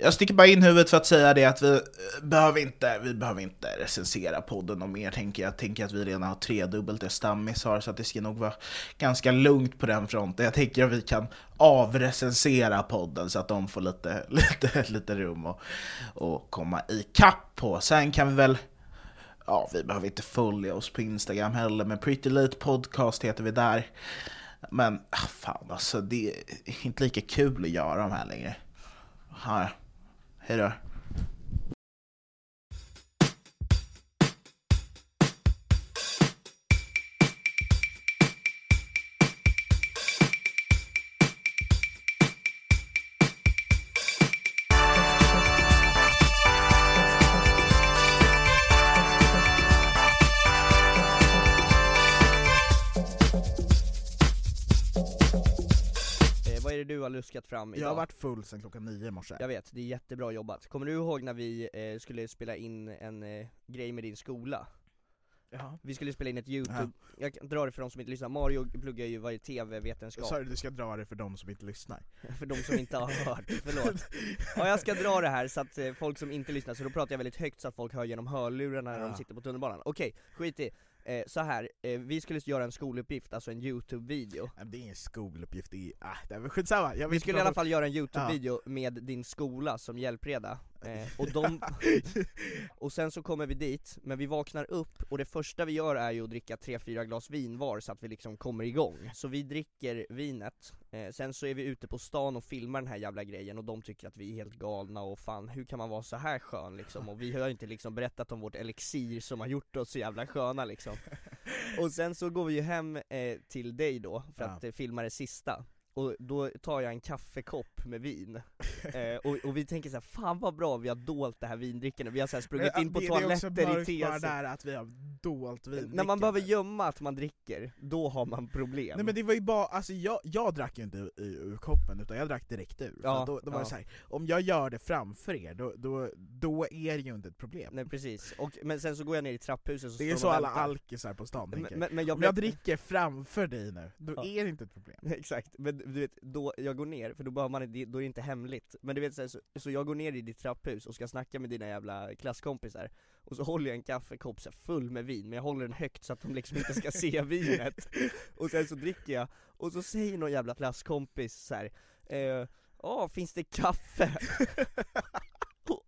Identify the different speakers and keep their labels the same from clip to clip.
Speaker 1: Jag sticker bara in huvudet för att säga det att vi eh, behöver inte, vi behöver inte recensera podden och mer tänker jag. Tänker att vi redan har tredubbelt det Stammis har så att det ska nog vara ganska lugnt på den fronten. Jag tänker att vi kan avrecensera podden så att de får lite, lite, lite rum och, och komma ikapp på. Sen kan vi väl Ja, vi behöver inte följa oss på Instagram heller, men Pretty Late Podcast heter vi där. Men ah, fan alltså, det är inte lika kul att göra de här längre. Här. Hej då.
Speaker 2: Eh, vad är det du har luskat fram idag?
Speaker 1: Jag har varit full sen klockan nio i morse.
Speaker 2: Jag vet, det är jättebra jobbat. Kommer du ihåg när vi eh, skulle spela in en eh, grej med din skola?
Speaker 1: Jaha.
Speaker 2: Vi skulle spela in ett youtube, jag kan dra det för de som inte lyssnar, Mario pluggar ju varje tv-vetenskap
Speaker 1: Sa du du ska dra det för de som inte lyssnar?
Speaker 2: För de som inte har hört, förlåt Ja jag ska dra det här så att eh, folk som inte lyssnar, så då pratar jag väldigt högt så att folk hör genom hörlurarna när
Speaker 1: Ja.
Speaker 2: de sitter på tunnelbanan Okej, skit i eh, Så här, eh, vi skulle göra en skoluppgift, alltså en youtube-video
Speaker 1: Nej, men Det är ingen skoluppgift, det är... Ah, det är väl skitsamma. Jag vill
Speaker 2: Vi
Speaker 1: inte
Speaker 2: skulle i
Speaker 1: prata
Speaker 2: alla fall göra en youtube-video med din skola som hjälpreda, eh, och de, och sen så kommer vi dit, men vi vaknar upp och det första vi gör är ju att dricka 3-4 glas vin var så att vi liksom kommer igång Så vi dricker vinet, eh, sen så är vi ute på stan och filmar den här jävla grejen och de tycker att vi är helt galna och fan hur kan man vara så här skön liksom? Och vi har ju inte liksom berättat om vårt elixir som har gjort oss så jävla sköna liksom Och sen så går vi ju hem eh, till dig då för
Speaker 1: Ja.
Speaker 2: att eh, filma det sista och då tar jag en kaffekopp med vin, eh, och, och vi tänker så här, fan vad bra vi har dolt det här vindrickandet, vi har så här sprungit
Speaker 1: Men,
Speaker 2: in på
Speaker 1: Eh, det- Det är
Speaker 2: toaletter i
Speaker 1: också mörkt bara
Speaker 2: TC
Speaker 1: där att vi har dolt vin.
Speaker 2: När man behöver gömma att man dricker, då har man problem
Speaker 1: Nej men det var ju bara, alltså jag, jag drack ju inte ur, ur koppen utan jag drack direkt ur.
Speaker 2: Ja,
Speaker 1: Ja, då, då var
Speaker 2: ja.
Speaker 1: det så här, om jag gör det framför er, då, då, då är det ju inte ett problem.
Speaker 2: Nej precis, och, men sen så går jag ner i trapphuset så
Speaker 1: det är
Speaker 2: står
Speaker 1: så
Speaker 2: de och
Speaker 1: alla
Speaker 2: väntar.
Speaker 1: alkisar på stan tänker.
Speaker 2: men, men, men jag
Speaker 1: om jag
Speaker 2: blev...
Speaker 1: dricker framför dig nu, då
Speaker 2: Ja.
Speaker 1: är det inte ett problem.
Speaker 2: Exakt, men du vet, då jag går ner, för då, behöver man, det- då är det inte hemligt Men du vet så, här, så, så jag går ner i ditt trapphus och ska snacka med dina jävla klasskompisar Och så håller jag en kaffekopp så här, full med vin, men jag håller den högt så att de liksom inte ska se vinet Och sen så dricker jag, och så säger någon jävla klasskompis så här. eh, Åh, finns det kaffe? och,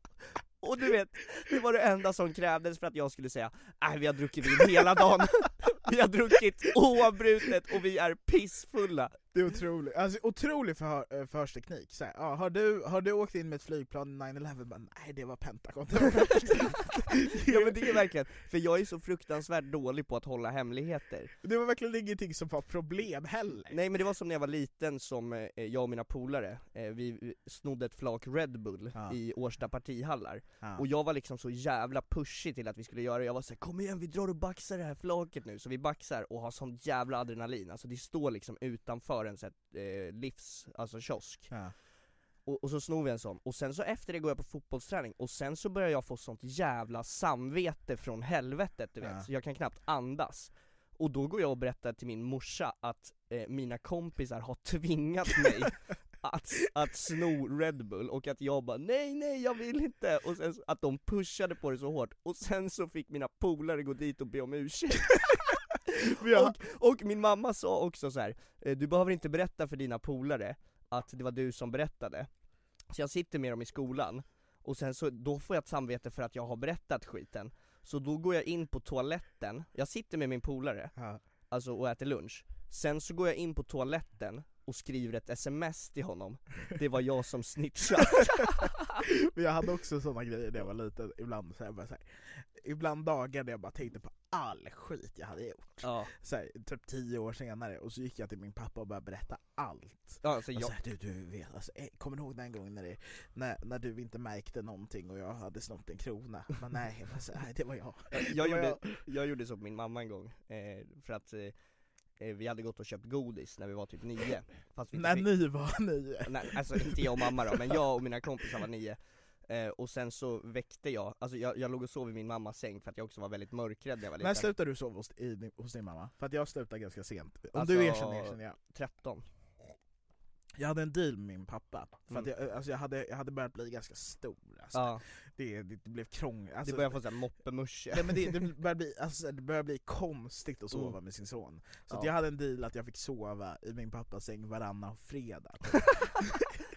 Speaker 2: och du vet, det var det enda som krävdes för att jag skulle säga Nej vi har druckit vin hela dagen Vi har druckit oavbrutet och vi är pissfulla
Speaker 1: Det är otroligt, alltså otrolig förhör, eh, förhörsteknik. Så här, ja, har, du, har du åkt in med ett flygplan 9-11? Bara, Nej det var Pentagon.
Speaker 2: Ja men det är verkligen, för jag är så fruktansvärt dålig på att hålla hemligheter
Speaker 1: det var verkligen ingenting som var problem heller.
Speaker 2: Nej men det var som när jag var liten som eh, jag och mina polare, eh, vi snodde ett flak Red Bull
Speaker 1: Ja.
Speaker 2: i Årsta partihallar
Speaker 1: Ja.
Speaker 2: Och jag var liksom så jävla pushig till att vi skulle göra det, jag var såhär 'Kom igen vi drar och baxar det här flaket nu' Så vi baxar och har sån jävla adrenalin, alltså det står liksom utanför kör en sån här, eh, livs, alltså kiosk
Speaker 1: Ja.
Speaker 2: och, och så snor vi en sån, och sen så efter det går jag på fotbollsträning, och sen så börjar jag få sånt jävla samvete från helvetet du vet,
Speaker 1: Ja.
Speaker 2: så jag kan knappt andas Och då går jag och berättar till min morsa att eh, mina kompisar har tvingat mig att, att sno Red Bull och att jag bara nej nej jag vill inte, och sen så, att de pushade på det så hårt, och sen så fick mina polare gå dit och be om ursäkt
Speaker 1: Ja.
Speaker 2: och, och min mamma sa också så här: eh, du behöver inte berätta för dina polare att det var du som berättade. Så jag sitter med dem i skolan, och sen så, då får jag ett samvete för att jag har berättat skiten. Så då går jag in på toaletten, jag sitter med min polare,
Speaker 1: Ja.
Speaker 2: alltså och äter lunch. Sen så går jag in på toaletten och skriver ett sms till honom, det var jag som snitchade.
Speaker 1: Men jag hade också sådana grejer när jag var liten, ibland så här, bara så här, Ibland dagar där jag bara tänkte på all skit jag hade gjort.
Speaker 2: ja,
Speaker 1: Så här, typ tio år senare, och så gick jag till min pappa och började berätta allt.
Speaker 2: ja, alltså
Speaker 1: Jag...
Speaker 2: jag,
Speaker 1: Så här, du, du vet, alltså, eh, kommer du ihåg den gången när, det, när, när du inte märkte någonting och jag hade snott en krona? Men nej, jag bara så här, nej, det var jag.
Speaker 2: jag,
Speaker 1: Det var
Speaker 2: gjorde, jag gjorde så på min mamma en gång, eh, för att eh, eh, vi hade gått och köpt godis när vi var typ nio, fast vi inte
Speaker 1: När
Speaker 2: fick-
Speaker 1: ni var nio.
Speaker 2: Nej, alltså inte jag och mamma då, men jag och mina kompisar var nio eh, Och sen så väckte jag, alltså jag, jag låg och sov i min mammas säng för att jag också var väldigt mörkrädd när jag var
Speaker 1: När
Speaker 2: liten
Speaker 1: slutade du sova hos, i, din- hos din mamma? För att jag slutade ganska sent. Om
Speaker 2: Alltså-
Speaker 1: du erkänner, erkänner jag.
Speaker 2: 13
Speaker 1: Jag hade en deal med min pappa. För att
Speaker 2: Mm.
Speaker 1: jag, alltså, jag, hade, jag hade börjat bli ganska stor. Alltså.
Speaker 2: Ja,
Speaker 1: Det, det, det blev krångligt. Alltså,
Speaker 2: det började få såhär moppemusche
Speaker 1: Nej, men det, det, började bli, alltså, det började bli konstigt att sova
Speaker 2: Mm.
Speaker 1: med sin son. Så att
Speaker 2: Ja.
Speaker 1: jag hade en deal att jag fick sova i min pappas säng varannan fredag.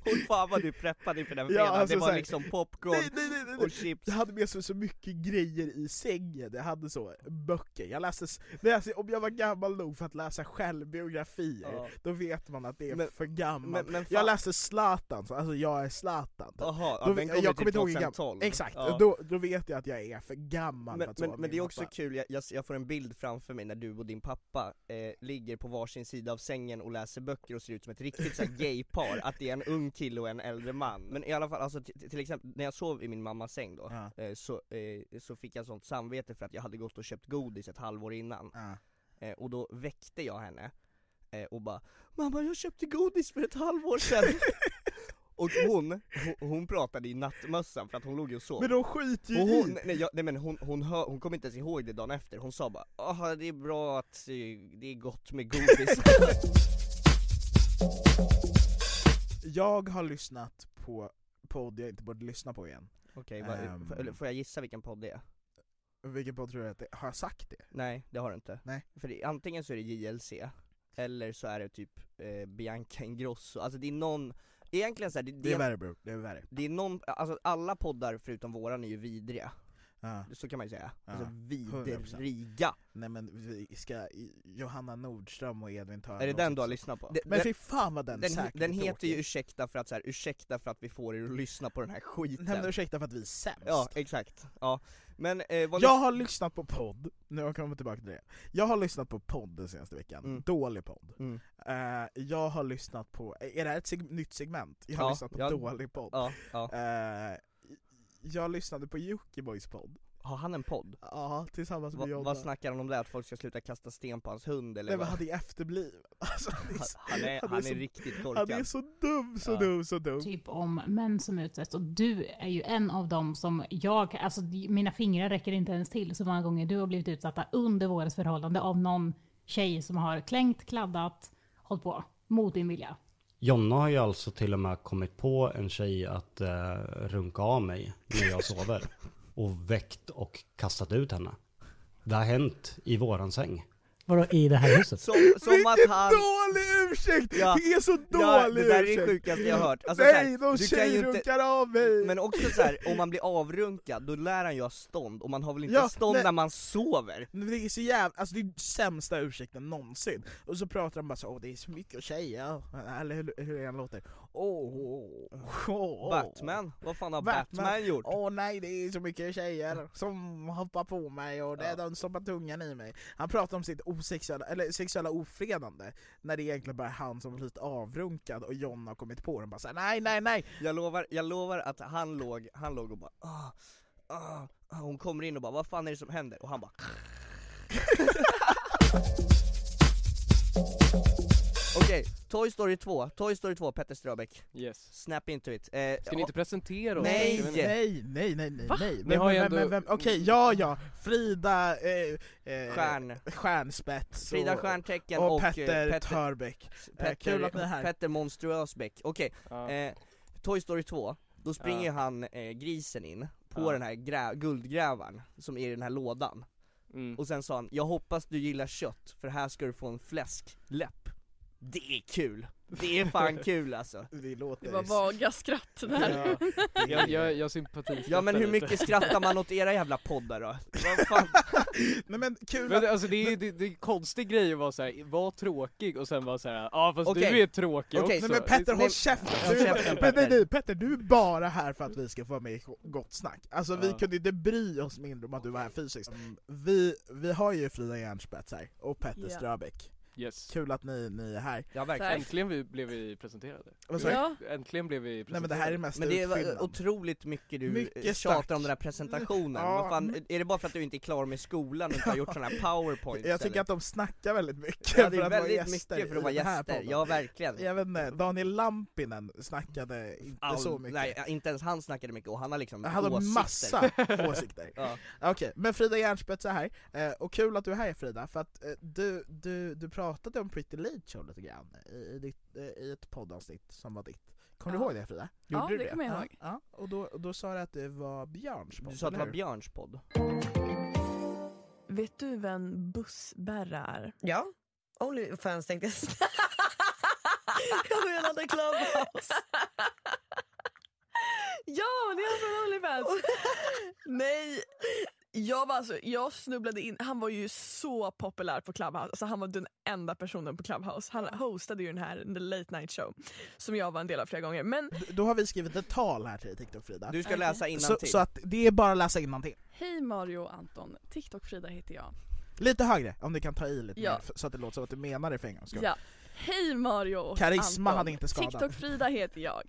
Speaker 2: Hon fan vad du preppade inför den fredagen,
Speaker 1: alltså
Speaker 2: det var
Speaker 1: såhär-
Speaker 2: liksom popcorn
Speaker 1: nej, nej, nej, nej, nej.
Speaker 2: och chips
Speaker 1: Jag hade med sig så mycket grejer i sängen, jag hade så böcker, jag läste, s- när jag- om jag var gammal nog för att läsa självbiografier,
Speaker 2: Ja.
Speaker 1: då vet man att det är
Speaker 2: Men-
Speaker 1: för gammal.
Speaker 2: men- men fan-
Speaker 1: jag läste Zlatan, så alltså jag är Zlatan.
Speaker 2: Jaha, ja,
Speaker 1: Då-
Speaker 2: den kom ju typ
Speaker 1: hur gammal-
Speaker 2: 2012
Speaker 1: Exakt,
Speaker 2: Ja.
Speaker 1: då, då vet jag att jag är för gammal för
Speaker 2: men,
Speaker 1: att sova
Speaker 2: men,
Speaker 1: med
Speaker 2: men det är
Speaker 1: min
Speaker 2: också
Speaker 1: pappa.
Speaker 2: kul, jag, jag, jag får en bild framför mig när du och din pappa eh, ligger på varsin sida av sängen och läser böcker och ser ut som ett riktigt såhär gaypar, att det är en ung kille och en äldre man Men i alla fall, alltså, t- till exempel när jag sov i min mammas säng då,
Speaker 1: Ja.
Speaker 2: eh, så, eh, så fick jag sånt samvete för att jag hade gått och köpt godis ett halvår innan
Speaker 1: Ja.
Speaker 2: eh, Och då väckte jag henne eh, och bara 'Mamma jag köpte godis för ett halvår sedan' Och hon, hon, hon pratade i nattmössan för att hon låg ju och sov
Speaker 1: Men de skiter ju
Speaker 2: och
Speaker 1: i
Speaker 2: hon, nej, jag, nej men hon, hon, hör, hon kommer inte ens ihåg det dagen efter, hon sa bara ah det är bra att eh, det är gott med godis
Speaker 1: Jag har lyssnat på podd jag inte borde lyssna på igen.
Speaker 2: Okej, vad-
Speaker 1: Ehm.
Speaker 2: får- eller får jag gissa vilken podd det är?
Speaker 1: Vilken podd tror du att det Har jag sagt det?
Speaker 2: Nej det har du inte
Speaker 1: Nej.
Speaker 2: För det, antingen så är det JLC, eller så är det typ eh, Bianca Ingrosso, alltså det är någon, egentligen så här, det, det,
Speaker 1: Det är
Speaker 2: är,
Speaker 1: värre bror, det är värre.
Speaker 2: det är någon, alltså alla poddar förutom våran är ju vidriga,
Speaker 1: Ja.
Speaker 2: så kan man ju säga,
Speaker 1: Ja,
Speaker 2: alltså
Speaker 1: 100%.
Speaker 2: vidriga!
Speaker 1: Nej men vi ska, Johanna Nordström och Edvin Törnros
Speaker 2: Är det den du har lyssnat på?
Speaker 1: Det- Men fy fan vad den,
Speaker 2: den,
Speaker 1: säkert
Speaker 2: den
Speaker 1: är
Speaker 2: heter ju
Speaker 1: tråkig.
Speaker 2: ursäkta för att så här, ursäkta för att vi får er att lyssna på den här skiten
Speaker 1: Nej men ursäkta för att vi är sämst.
Speaker 2: Ja, exakt. Ja. Men eh, vad
Speaker 1: jag har lyssnat på podd, nu har jag kommit tillbaka till det. Jag har lyssnat på podd den senaste veckan,
Speaker 2: Mm.
Speaker 1: dålig podd.
Speaker 2: Mm.
Speaker 1: Eh, jag har lyssnat på, är det här ett seg- nytt segment? Jag har
Speaker 2: Ja,
Speaker 1: lyssnat på
Speaker 2: jag-
Speaker 1: dålig podd.
Speaker 2: Ja, ja.
Speaker 1: Eh, jag lyssnade på Jockibois podd,
Speaker 2: Har han en podd?
Speaker 1: ja, tillsammans med
Speaker 2: Va,
Speaker 1: Jonna.
Speaker 2: vad snackar han om där? Att folk ska sluta kasta sten på hans hund eller
Speaker 1: Nej men
Speaker 2: vad?
Speaker 1: han är efterbliven. Alltså, han är,
Speaker 2: Han,
Speaker 1: så-
Speaker 2: han är, han är,
Speaker 1: så,
Speaker 2: riktigt
Speaker 1: han
Speaker 2: korkad.
Speaker 1: är så dum, så
Speaker 2: Ja.
Speaker 1: dum, så dum.
Speaker 3: typ om män som utsätts och du är ju en av dem som jag, alltså mina fingrar räcker inte ens till så många gånger du har blivit utsatta under vårt förhållande av någon tjej som har klängt, kladdat, hållit på mot din vilja.
Speaker 4: Jonna har ju alltså till och med kommit på en tjej att eh, runka av mig när jag sover. Och väckt och kastat ut henne. Det har hänt i våran säng. Vadå i det här huset?
Speaker 2: Som, som
Speaker 1: Vilken
Speaker 2: att han...
Speaker 1: dålig ursäkt!
Speaker 2: Ja.
Speaker 1: Det är så dålig
Speaker 2: Ja, det där är
Speaker 1: ursäkt!
Speaker 2: det sjukaste jag har hört. Alltså, så
Speaker 1: Nej, de
Speaker 2: här, du kan ju
Speaker 1: tjej
Speaker 2: inte-
Speaker 1: runkar av mig!
Speaker 2: Men också så här, om man blir avrunkad, då lär han ju ha stånd, och man har väl inte
Speaker 1: Ja,
Speaker 2: stånd
Speaker 1: nej.
Speaker 2: när man sover?
Speaker 1: Men Det är så jävla, alltså det är sämsta ursäkten någonsin. Och så pratar de bara så åh det är så mycket tjejer, eller hur, hur det än låter. Åh, åh, åh.
Speaker 2: Batman? Vad fan har Batman, gjort?
Speaker 1: Åh nej det är så mycket tjejer som hoppar på mig och det är
Speaker 2: Ja.
Speaker 1: de stoppar tungan i mig. Han pratar om sitt osexuella, eller sexuella ofredande, när det egentligen bara är han som har blivit avrunkad och John har kommit på den bara såhär nej nej nej!
Speaker 2: Jag lovar, jag lovar att han låg, han låg och bara ah, ah, ah." Hon kommer in och bara 'Vad fan är det som händer?' och han bara Okej Okej, Toy Story 2, Toy Story 2, Petter Ströbeck.
Speaker 5: Yes.
Speaker 2: Snap into it. Eh,
Speaker 5: Ska ni inte presentera oss?
Speaker 2: Nej!
Speaker 5: Jag vet inte.
Speaker 1: Nej, nej, nej, nej,
Speaker 5: Va?
Speaker 1: nej.
Speaker 5: Ni
Speaker 1: Vem,
Speaker 5: har ju
Speaker 1: vem,
Speaker 5: ändå-
Speaker 1: vem, vem? Okej, ja, ja. Frida... Eh, eh,
Speaker 2: Stjärn.
Speaker 1: Stjärnspets.
Speaker 2: Frida
Speaker 1: och-
Speaker 2: Stjärntecken
Speaker 1: och,
Speaker 2: och, eh,
Speaker 1: Petter,
Speaker 2: Petter,
Speaker 1: Törbeck. Eh, kul
Speaker 2: Petter,
Speaker 1: att ni är här.
Speaker 2: Petter Monstruösbäck. Okej,
Speaker 5: Ja.
Speaker 2: eh, Toy Story 2, då springer
Speaker 5: Ja.
Speaker 2: ju han eh, grisen in på
Speaker 5: Ja.
Speaker 2: den här grä- guldgrävaren som är i den här lådan.
Speaker 5: Mm.
Speaker 2: Och sen sa han 'Jag hoppas du gillar kött, för här ska du få en fläskläpp' Det är kul! Det är fan kul alltså!
Speaker 1: Det låter...
Speaker 6: Det var vaga skratt där.
Speaker 1: Ja, det-
Speaker 5: Jag, jag, jag sympatiserar
Speaker 2: Ja men hur
Speaker 5: lite.
Speaker 2: mycket skrattar man åt era jävla poddar då? Vad fan?
Speaker 1: Nej men kul
Speaker 5: Men
Speaker 1: att...
Speaker 5: alltså det är, det, det är en konstig grej att vara såhär, var tråkig och sen vara såhär, ja ah, fast
Speaker 2: Okej.
Speaker 5: du är tråkig
Speaker 2: Okej,
Speaker 5: också
Speaker 1: Nej men Petter
Speaker 2: Nej,
Speaker 1: håll käften!
Speaker 2: håll
Speaker 1: Du,
Speaker 2: käften,
Speaker 1: men nej,
Speaker 2: Petter.
Speaker 1: nej, Petter, du är bara här för att vi ska få vara med i Gott Snack. Alltså vi
Speaker 5: Ja.
Speaker 1: kunde inte bry oss mindre om att du var här fysiskt. Mm, Vi, vi har ju Frida Järnspets här, och Petter
Speaker 6: Ja.
Speaker 1: Ströbeck.
Speaker 5: Yes,
Speaker 1: Kul att ni, ni är här.
Speaker 2: Ja
Speaker 6: Tack.
Speaker 2: verkligen
Speaker 5: äntligen vi, blev vi presenterade
Speaker 1: Vad sa du?
Speaker 6: Ja,
Speaker 5: Äntligen blev vi
Speaker 1: Nej men
Speaker 5: presenterade
Speaker 1: det här är mest
Speaker 2: Men det är
Speaker 1: utfyllnad.
Speaker 2: otroligt mycket du
Speaker 1: Mycket
Speaker 2: mycket
Speaker 1: snack.
Speaker 2: tjatar om den här presentationen,
Speaker 1: Ja,
Speaker 2: Vad fan,
Speaker 1: men-
Speaker 2: är det bara för att du inte är klar med skolan och inte har gjort sådana här powerpoints
Speaker 1: Jag tycker
Speaker 2: eller?
Speaker 1: att de snackar väldigt mycket
Speaker 2: Ja det
Speaker 1: för
Speaker 2: är
Speaker 1: att vara
Speaker 2: väldigt
Speaker 1: gäster
Speaker 2: mycket för
Speaker 1: i
Speaker 2: att vara
Speaker 1: den här
Speaker 2: gäster,
Speaker 1: podden.
Speaker 2: ja verkligen
Speaker 1: Jag vet inte, Daniel Lampinen snackade inte
Speaker 2: All-
Speaker 1: så mycket.
Speaker 2: Nej, inte ens han snackade mycket och han har liksom
Speaker 1: Han hade
Speaker 2: åsikter.
Speaker 1: massa åsikter.
Speaker 2: Ja.
Speaker 1: Okej, men Frida Järnspets är här, eh, och kul att du är här Frida, för att eh, du, du, du pratade om Pretty Late Show lite grann i, i, ditt, eh, i ett poddavsnitt som var ditt. Kommer du
Speaker 6: Ja.
Speaker 1: ihåg det Frida?
Speaker 6: Ja,
Speaker 1: Gjorde du
Speaker 6: det kommer jag
Speaker 1: ja,
Speaker 6: ihåg.
Speaker 1: Ja, och då, och då sa du att det var Björns podd,
Speaker 2: Du sa att det
Speaker 1: eller
Speaker 2: var
Speaker 1: hur?
Speaker 2: Björns podd
Speaker 6: vet du vem bussbärra är?
Speaker 7: Ja, Onlyfans tänkte jag säga. Jag menade Clubhouse.
Speaker 6: Ja, det är han från Onlyfans! Nej, jag, var alltså, jag snubblade in. Han var ju så populär på Clubhouse. Alltså, han var den enda personen på Clubhouse. Han hostade ju den här The Late Night Show som jag var en del av flera gånger. Men
Speaker 1: D- Då har vi skrivit ett tal här till TikTok Frida,
Speaker 2: Du ska
Speaker 6: Okej.
Speaker 2: läsa
Speaker 1: så,
Speaker 2: innantill
Speaker 1: så att det är bara att läsa innantill.
Speaker 6: hej Mario och Anton, TikTok-Frida heter jag.
Speaker 1: Lite högre, om du kan ta i lite
Speaker 6: Ja.
Speaker 1: mer, f- så att det låter som att du menar det för en gångs skull.
Speaker 6: Ja. Hej Mario och
Speaker 1: Karisma
Speaker 6: Anton.
Speaker 1: hade inte skadat.
Speaker 6: TikTok-Frida heter jag.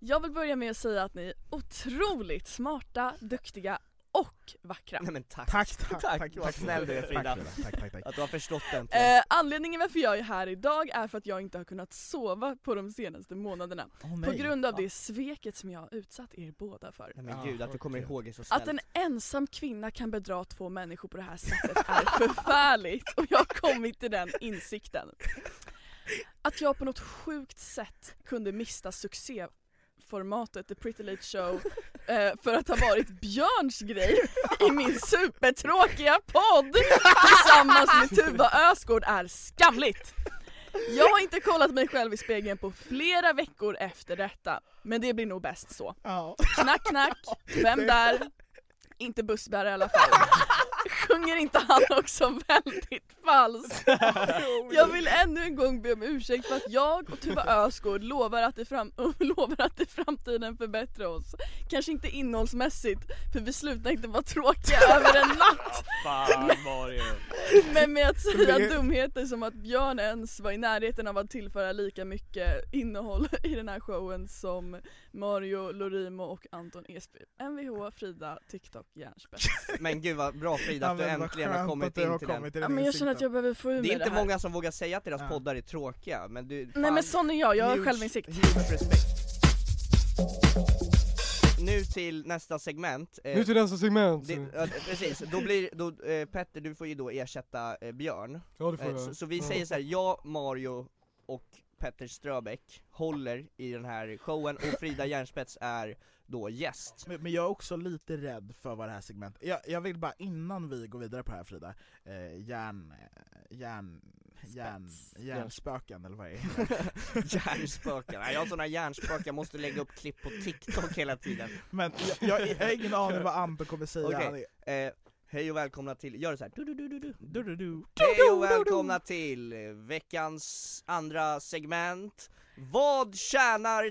Speaker 6: Jag vill börja med att säga att ni är otroligt smarta, duktiga och vackra.
Speaker 2: Nej men tack!
Speaker 1: Tack, tack,
Speaker 2: Tack,
Speaker 1: tack, tack,
Speaker 2: vad snäll du är, Frida.
Speaker 1: Tack, Frida. tack, tack, tack.
Speaker 2: Att du har förstått den
Speaker 6: Eh, anledningen varför jag är här idag är för att jag inte har kunnat sova på de senaste månaderna.
Speaker 1: Åh,
Speaker 6: På
Speaker 1: nej.
Speaker 6: grund av det sveket som jag har utsatt er båda för.
Speaker 2: Nej men gud, att du
Speaker 1: Ah,
Speaker 2: kommer ihåg är så snällt
Speaker 6: Att en ensam kvinna kan bedra två människor på det här sättet är förfärligt och jag har kommit till den insikten. Att jag på något sjukt sätt kunde mista succéformatet The Pretty Late Show eh, för att ha varit Björns grej i min supertråkiga podd tillsammans med Tuva Ösgård är skamligt. Jag har inte kollat mig själv i spegeln på flera veckor efter detta, men det blir nog bäst så.
Speaker 1: Ja.
Speaker 6: Knack knack, vem där? Inte bussbärare i alla fall. Sjunger inte han också väldigt falskt? Jag vill ännu en gång be om ursäkt för att jag och Tuva Ösgård lovar att, i fram- lovar att i framtiden förbättra oss. Kanske inte innehållsmässigt, för vi slutar inte vara tråkiga över en natt.
Speaker 5: Fan Mario!
Speaker 6: Men med att
Speaker 1: Det-
Speaker 6: säga dumheter som att Björn ens var i närheten av att tillföra lika mycket innehåll i den här showen som Mario Lorimo och Anton Esby. Mvh, Frida, TikTok, Järnspett.
Speaker 2: Men gud vad bra Frida
Speaker 1: Ja,
Speaker 2: att du
Speaker 1: men vad
Speaker 2: äntligen
Speaker 1: skönt
Speaker 2: har kommit
Speaker 1: att du
Speaker 2: in
Speaker 1: har
Speaker 2: till
Speaker 1: kommit
Speaker 2: den
Speaker 1: till
Speaker 6: Ja
Speaker 1: den
Speaker 6: men jag känner att
Speaker 1: insikten.
Speaker 6: jag behöver få ur
Speaker 2: Det
Speaker 6: mig
Speaker 2: är inte
Speaker 6: här. Mm.
Speaker 2: många som vågar säga att deras
Speaker 1: Ja.
Speaker 2: poddar är tråkiga, men du
Speaker 6: Nej men sån är jag, jag har
Speaker 2: huge-
Speaker 6: självinsikt.
Speaker 2: huge respect. Nu till nästa segment eh,
Speaker 5: Nu till nästa segment!
Speaker 2: det, ja, precis, då blir, då, eh, Petter du får ju då ersätta eh, Björn,
Speaker 5: ja det får
Speaker 2: eh,
Speaker 5: jag
Speaker 2: så, så vi säger så här: jag, Mario och Petter Ströbeck håller i den här showen och Frida Järnspets är då gäst
Speaker 1: Men, men jag är också lite rädd för vad det här segmentet... Jag, jag vill bara innan vi går vidare på det här Frida, eh, järn... järn... järn... järnspöken eller vad det är
Speaker 2: Hjärnspöken, Nej, jag har såna hjärnspöken, jag måste lägga upp klipp på TikTok hela tiden
Speaker 1: Men jag, jag, jag har ingen aning vad Anton kommer säga,
Speaker 2: Okej.
Speaker 1: han är...
Speaker 2: eh, Hej och välkomna till, gör det såhär, du-du-du-du-du
Speaker 1: Du, du, du.
Speaker 2: Hej och välkomna till eh, veckans andra segment Vad tjänar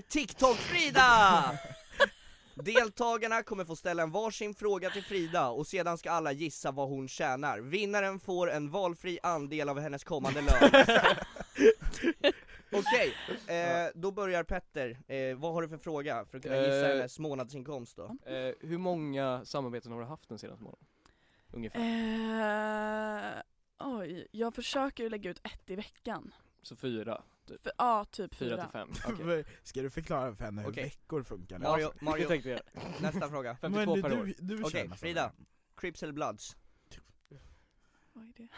Speaker 2: TikTok-Frida? Deltagarna kommer få ställa en varsin fråga till Frida och sedan ska alla gissa vad hon tjänar Vinnaren får en valfri andel av hennes kommande lön Okej, eh, då börjar Petter, eh, vad har du för fråga för att kunna gissa
Speaker 5: Eh.
Speaker 2: hennes månadsinkomst då?
Speaker 5: eh, Hur många samarbeten har du haft den senaste månaden? Ungefär,
Speaker 6: Eh, oj, jag försöker ju lägga ut ett i veckan.
Speaker 5: så fyra typ?
Speaker 6: För, ja, typ
Speaker 5: Fyra
Speaker 6: fyra.
Speaker 5: till fem, okej.
Speaker 1: Ska du förklara för henne hur
Speaker 2: Okej.
Speaker 1: veckor funkar?
Speaker 2: Mario,
Speaker 1: Ja.
Speaker 2: Mario
Speaker 5: tänkte jag.
Speaker 2: nästa fråga.
Speaker 1: Men
Speaker 2: 52
Speaker 1: du-
Speaker 2: per år.
Speaker 1: du- du kör
Speaker 2: Okej,
Speaker 1: nästa
Speaker 2: Frida. Crips eller Bloods?
Speaker 6: Vad är det?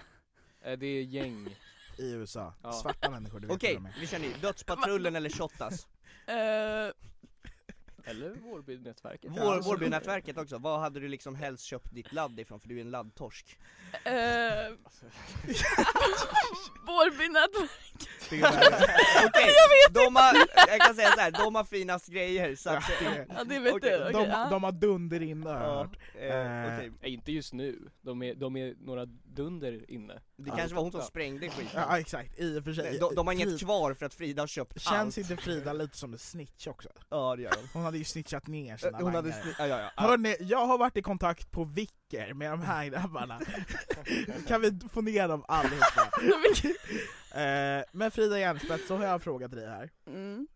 Speaker 5: Eh, Det är gäng.
Speaker 1: I USA,
Speaker 5: Ja.
Speaker 1: svarta människor, det vet
Speaker 2: Okej,
Speaker 1: jag med.
Speaker 2: vi kör ny. Dödspatrullen eller Shottaz?
Speaker 6: Eh,
Speaker 5: Eller Vårbynätverket.
Speaker 2: Vår, Vårbynätverket också, vad hade du liksom helst köpt ditt ladd ifrån? För du är en laddtorsk.
Speaker 6: eh, Vårbynätverket.
Speaker 2: Okej, de har, jag kan säga så här, de har finast grejer så att,
Speaker 6: Ja, det vet
Speaker 2: Okej,
Speaker 6: du. Okej,
Speaker 1: De,
Speaker 6: ja.
Speaker 1: de har dunder in har jag
Speaker 2: ja,
Speaker 1: hört.
Speaker 2: eh, okej.
Speaker 5: Nej, inte just nu. De är, de är några dunder inne.
Speaker 2: Det kanske var hon som
Speaker 5: Ja.
Speaker 2: sprängde skiten.
Speaker 1: Ja exakt, i och för sig.
Speaker 2: De, de har
Speaker 1: Fri-
Speaker 2: inget kvar för att Frida har köpt
Speaker 1: Känns
Speaker 2: allt.
Speaker 1: inte Frida lite som en snitch också?
Speaker 2: Ja det gör hon.
Speaker 1: Hon hade ju snitchat ner sina
Speaker 2: Eh, Hon hade,
Speaker 1: langare.
Speaker 2: sni- ja, ja, ja.
Speaker 1: Hörni, jag har varit i kontakt på Vicker med de här grabbarna. kan vi få ner dem allihopa? eh, men Frida Järnspets, så har jag en fråga till dig här.
Speaker 6: Mm.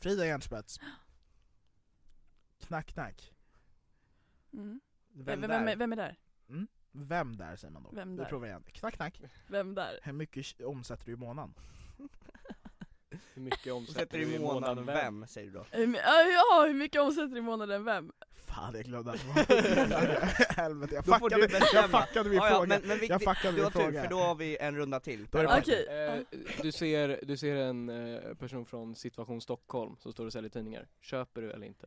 Speaker 1: Frida Järnspets. Knack knack.
Speaker 6: Mm.
Speaker 2: Vem
Speaker 6: Vem,
Speaker 2: där?
Speaker 6: vem, vem, är- vem är där?
Speaker 1: Vem där säger man då?
Speaker 6: Vem
Speaker 1: Vi
Speaker 6: där?
Speaker 1: provar igen. Knack knack.
Speaker 6: Vem där?
Speaker 1: Hur mycket omsätter du i månaden?
Speaker 5: Hur mycket
Speaker 2: Hon
Speaker 5: omsätter
Speaker 2: sätter
Speaker 5: du
Speaker 2: i månaden
Speaker 5: vem?
Speaker 2: vem, säger du då?
Speaker 6: Hur my- ah, Ja, hur mycket omsätter i månaden vem?
Speaker 1: Fan jag glömde att Helvete, jag
Speaker 2: Då får du
Speaker 1: fuckade, jag
Speaker 2: bestämma.
Speaker 1: fuckade min
Speaker 2: Ja, ja,
Speaker 1: fråga.
Speaker 2: men, men vi,
Speaker 1: jag fuckade
Speaker 2: du har
Speaker 1: min
Speaker 2: tur för
Speaker 1: fråga.
Speaker 2: då har vi en runda till.
Speaker 1: Då är det bara-
Speaker 6: Okej,
Speaker 5: Eh, du, ser, du ser en eh, person från Situation Stockholm som står och säljer tidningar. Köper du eller inte?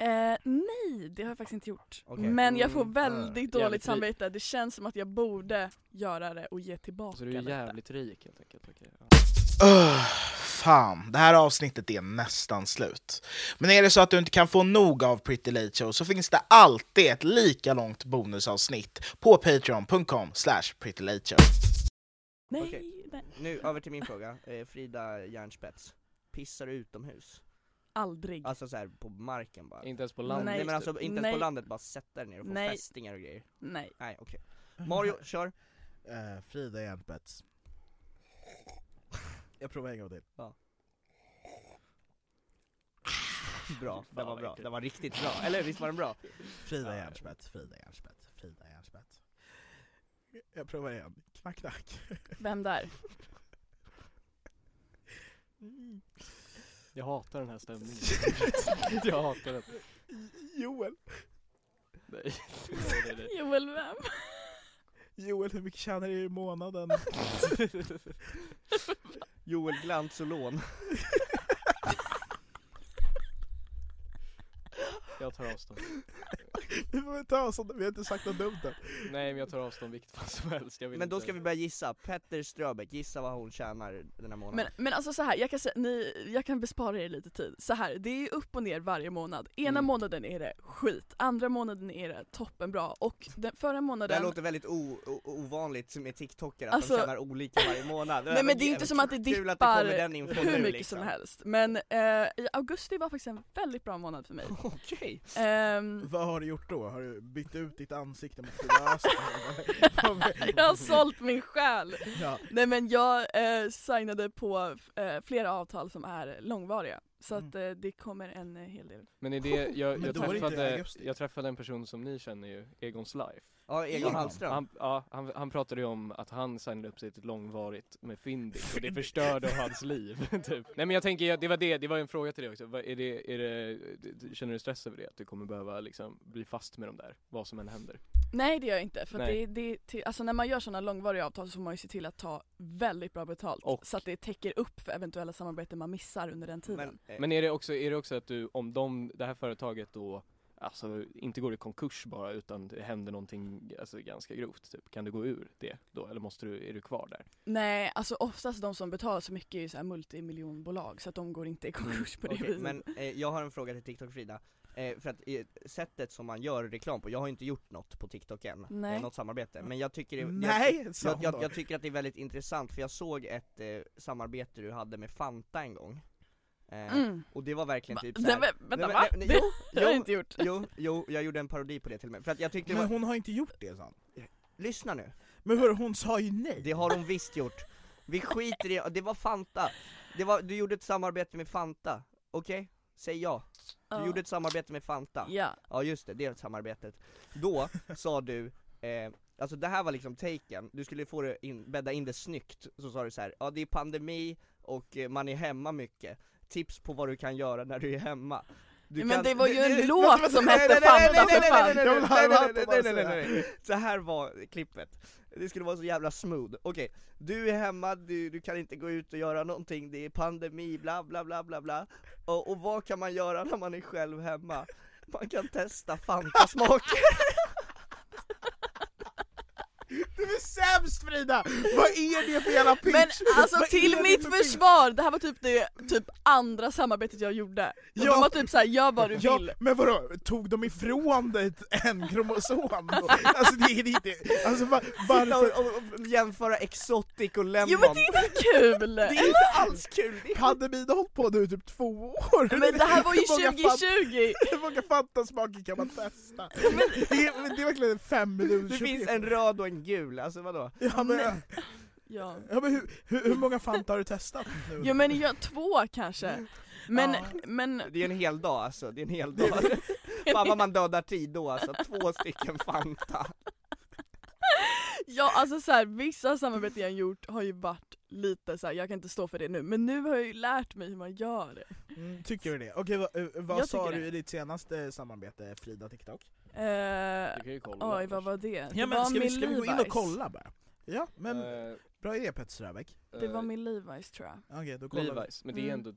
Speaker 6: eh, nej det har jag faktiskt inte gjort.
Speaker 2: Okej.
Speaker 6: Men jag får
Speaker 5: Mm.
Speaker 6: väldigt
Speaker 5: Mm.
Speaker 6: dåligt
Speaker 5: Jävligt
Speaker 6: samvete, det känns som att jag borde göra det och ge tillbaka
Speaker 5: Så du är
Speaker 6: lite.
Speaker 5: jävligt rik helt enkelt. Okej, ja.
Speaker 8: Öh, fan, det här avsnittet är nästan slut. Men är det så att du inte kan få nog av Pretty Late Show så finns det alltid ett lika långt bonusavsnitt på patreon.com slash prettylateshow.
Speaker 6: Nej,
Speaker 2: Okej.
Speaker 6: nej,
Speaker 2: Nu över till min fråga, eh, Frida Järnspets. Pissar du utomhus?
Speaker 6: aldrig.
Speaker 2: Alltså så här på marken bara?
Speaker 5: Inte ens på landet.
Speaker 2: Nej men
Speaker 6: typ.
Speaker 2: alltså inte ens
Speaker 6: Nej.
Speaker 2: på landet, bara sätta dig ner och få
Speaker 6: Nej.
Speaker 2: fästingar och grejer?
Speaker 6: Nej.
Speaker 2: Nej okej. Mario, kör!
Speaker 1: Eh, Frida Järnspets. Jag provar en gång till.
Speaker 2: Bra, den var
Speaker 5: vad
Speaker 2: bra,
Speaker 5: äckligt.
Speaker 2: den var riktigt bra, eller visst var den bra?
Speaker 1: Frida Järnspets, Frida Järnspets, Frida Järnspets. Jag provar igen. Knack knack.
Speaker 6: Vem där?
Speaker 8: Mm.
Speaker 5: Jag hatar den här stämningen. jag hatar den.
Speaker 1: Joel,
Speaker 5: Nej. Nej, nej, nej.
Speaker 6: Joel vem?
Speaker 1: Joel hur mycket tjänar du i månaden?
Speaker 2: Joel Glantsolon.
Speaker 5: Jag tar avstånd.
Speaker 1: Vi får väl ta sånt, vi har inte sagt något dumt än.
Speaker 5: Nej men jag tar avstånd vilket fall som helst. Jag vill
Speaker 2: Men då
Speaker 5: inte-
Speaker 2: ska vi börja gissa, Petter Ströbeck, gissa vad hon tjänar den här månaden.
Speaker 6: Men, men alltså så här, jag kan, säga, ni, jag kan bespara er lite tid. Så här, det är ju upp och ner varje månad. Ena
Speaker 2: Mm.
Speaker 6: månaden är det skit, andra månaden är det toppenbra och den förra
Speaker 2: det här
Speaker 6: månaden...
Speaker 2: låter väldigt o- o- ovanligt med TikTokare, att
Speaker 6: Alltså-
Speaker 2: de tjänar olika varje månad.
Speaker 6: Nej men det är ju inte som att det
Speaker 2: Kul att det kommer
Speaker 6: dippar
Speaker 2: den infon
Speaker 6: hur
Speaker 2: nu,
Speaker 6: mycket
Speaker 2: liksom.
Speaker 6: som helst. Men eh, i augusti var faktiskt en väldigt bra månad för mig.
Speaker 2: Okej.
Speaker 6: Ehm,
Speaker 1: Vad har du gjort då? Har du bytt ut ditt ansikte mot löst?
Speaker 6: jag har sålt min själ!
Speaker 1: ja.
Speaker 6: Nej men jag eh, signade på eh, flera avtal som är långvariga. Så att eh, det kommer en eh, hel del.
Speaker 5: Men är det, jag,
Speaker 1: Mm. Men
Speaker 5: jag,
Speaker 1: då var det inte i
Speaker 5: träffade,
Speaker 1: augusti.
Speaker 5: jag träffade en person som ni känner ju, Egons Life.
Speaker 2: Ja, Egon
Speaker 1: Egon.
Speaker 2: Hallström.
Speaker 5: Han, ja, han, han pratade ju om att han signade upp sig till långvarigt med Fyndik och det förstörde hans liv. Typ. Nej men jag tänker, ja, det var det, det var en fråga till dig också. Vad- Är det, är det, känner du stress över det? Att du kommer behöva liksom bli fast med de där, vad som än händer?
Speaker 6: Nej det gör jag inte, för att
Speaker 5: Nej.
Speaker 6: det, det, till, alltså när man gör sådana långvariga avtal så får man ju se till att ta väldigt bra betalt så att det täcker upp för eventuella samarbeten man missar under den tiden.
Speaker 2: eh,
Speaker 5: Men är det också, är det också att du, om de, det här företaget då, alltså inte går i konkurs bara utan det händer någonting alltså, ganska grovt typ, kan du gå ur det då eller måste du, är du kvar där?
Speaker 6: Nej, alltså oftast de som betalar så mycket är ju så här multimiljonbolag så att de går inte i konkurs på det
Speaker 2: Okej,
Speaker 6: viset.
Speaker 2: men eh, jag har en fråga till TikTok Frida, eh, för att eh, sättet som man gör reklam på, jag har ju inte gjort något på TikTok än,
Speaker 1: Nej.
Speaker 2: Eh, något samarbete, men jag tycker, det,
Speaker 1: Nej,
Speaker 2: jag,
Speaker 1: sa
Speaker 2: jag, jag,
Speaker 1: hon.
Speaker 2: jag tycker att det är väldigt intressant för jag såg ett eh, samarbete du hade med Fanta en gång Eh,
Speaker 6: Mm.
Speaker 2: Och det var verkligen
Speaker 6: Va?
Speaker 2: typ
Speaker 6: Nej,
Speaker 2: såhär,
Speaker 6: men- vänta, va? Det- det har jag inte gjort.
Speaker 2: Jo, jo, jag gjorde en parodi på det till och med, för att jag tyckte det
Speaker 1: Men
Speaker 2: var-
Speaker 1: hon har inte gjort det sa han.
Speaker 2: Lyssna nu!
Speaker 1: Men hur, hon sa ju nej!
Speaker 2: Det har hon visst gjort! Vi skiter i det, var Fanta! Det var, du gjorde ett samarbete med Fanta, okej? Säg ja! Du
Speaker 6: Ja.
Speaker 2: gjorde ett samarbete med Fanta
Speaker 6: Ja.
Speaker 2: Ja just det, det samarbetet Då sa du, eh, alltså det här var liksom taken, du skulle få det in, bädda in det snyggt Så sa du så här, ja det är pandemi och eh, man är hemma mycket Tips på vad du kan göra när du är hemma du
Speaker 6: Men det var ju en låt som hette Fanta för fan. Jag vill höra allt om
Speaker 2: Nej nej nej
Speaker 6: vad du
Speaker 2: nej
Speaker 6: säger.
Speaker 2: nej Så här var klippet Det skulle vara så jävla smooth, okej Du är hemma, du, du kan inte gå ut och göra någonting Det är pandemi, bla bla bla bla bla och, och vad kan man göra när man är själv hemma? Man kan testa Fanta-smaker
Speaker 1: Du är sämst Frida! Vad är det för jävla pitch?
Speaker 6: Men alltså
Speaker 1: Vad är
Speaker 6: till
Speaker 1: det
Speaker 6: mitt
Speaker 1: för pitch?
Speaker 6: försvar, det här var typ det typ andra samarbetet jag gjorde. Och
Speaker 1: Ja.
Speaker 6: De var typ såhär, gör vad du
Speaker 1: Ja,
Speaker 6: vill.
Speaker 1: men vadå, tog de ifrån dig en kromosom? då? alltså det är det inte, alltså va, varför?
Speaker 2: och, och, och jämföra exotic och lemon
Speaker 6: Jo men det är inte kul!
Speaker 1: Det är inte alls kul! Pandemin har hållit på nu i typ två år!
Speaker 6: Men det här var ju
Speaker 1: Hur många
Speaker 6: 2020.
Speaker 1: fan- Hur många fantasmaker kan man testa? det, är, men det är verkligen en fem minuters
Speaker 2: Det finns
Speaker 1: uppgift.
Speaker 2: en röd och en gul, alltså vadå?
Speaker 1: Ja men,
Speaker 6: Ja.
Speaker 1: ja, men hur, hur, hur många Fanta har du testat nu?
Speaker 6: Ja men jag, två kanske.
Speaker 5: Mm.
Speaker 6: Men,
Speaker 2: Ja.
Speaker 6: men
Speaker 2: Det är en hel dag alltså, det är en hel dag Fan vad man dödar tid då alltså, två stycken Fanta
Speaker 6: ja alltså så här, vissa samarbeten jag gjort har ju varit lite så här, jag kan inte stå för det nu, men nu har jag ju lärt mig hur man gör det.
Speaker 1: Mm, tycker du det? Okej, vad, eh,
Speaker 6: Jag
Speaker 1: vad sa
Speaker 6: tycker
Speaker 1: du
Speaker 6: det.
Speaker 1: i ditt senaste samarbete Frida TikTok?
Speaker 6: Eh,
Speaker 5: Du kan ju kolla
Speaker 6: oj vad var det?
Speaker 1: Ja,
Speaker 6: det
Speaker 1: men
Speaker 6: var
Speaker 1: ska, vi,
Speaker 6: min
Speaker 1: ska vi gå in och
Speaker 6: Levi's.
Speaker 1: kolla bara? Ja, men
Speaker 5: Eh,
Speaker 1: bra idé Petter Ströbeck.
Speaker 6: Det var
Speaker 5: eh,
Speaker 6: min Levi's tror jag.
Speaker 1: Okej, då kollar vi.
Speaker 5: Levi's, men det är
Speaker 6: Mm.
Speaker 5: ändå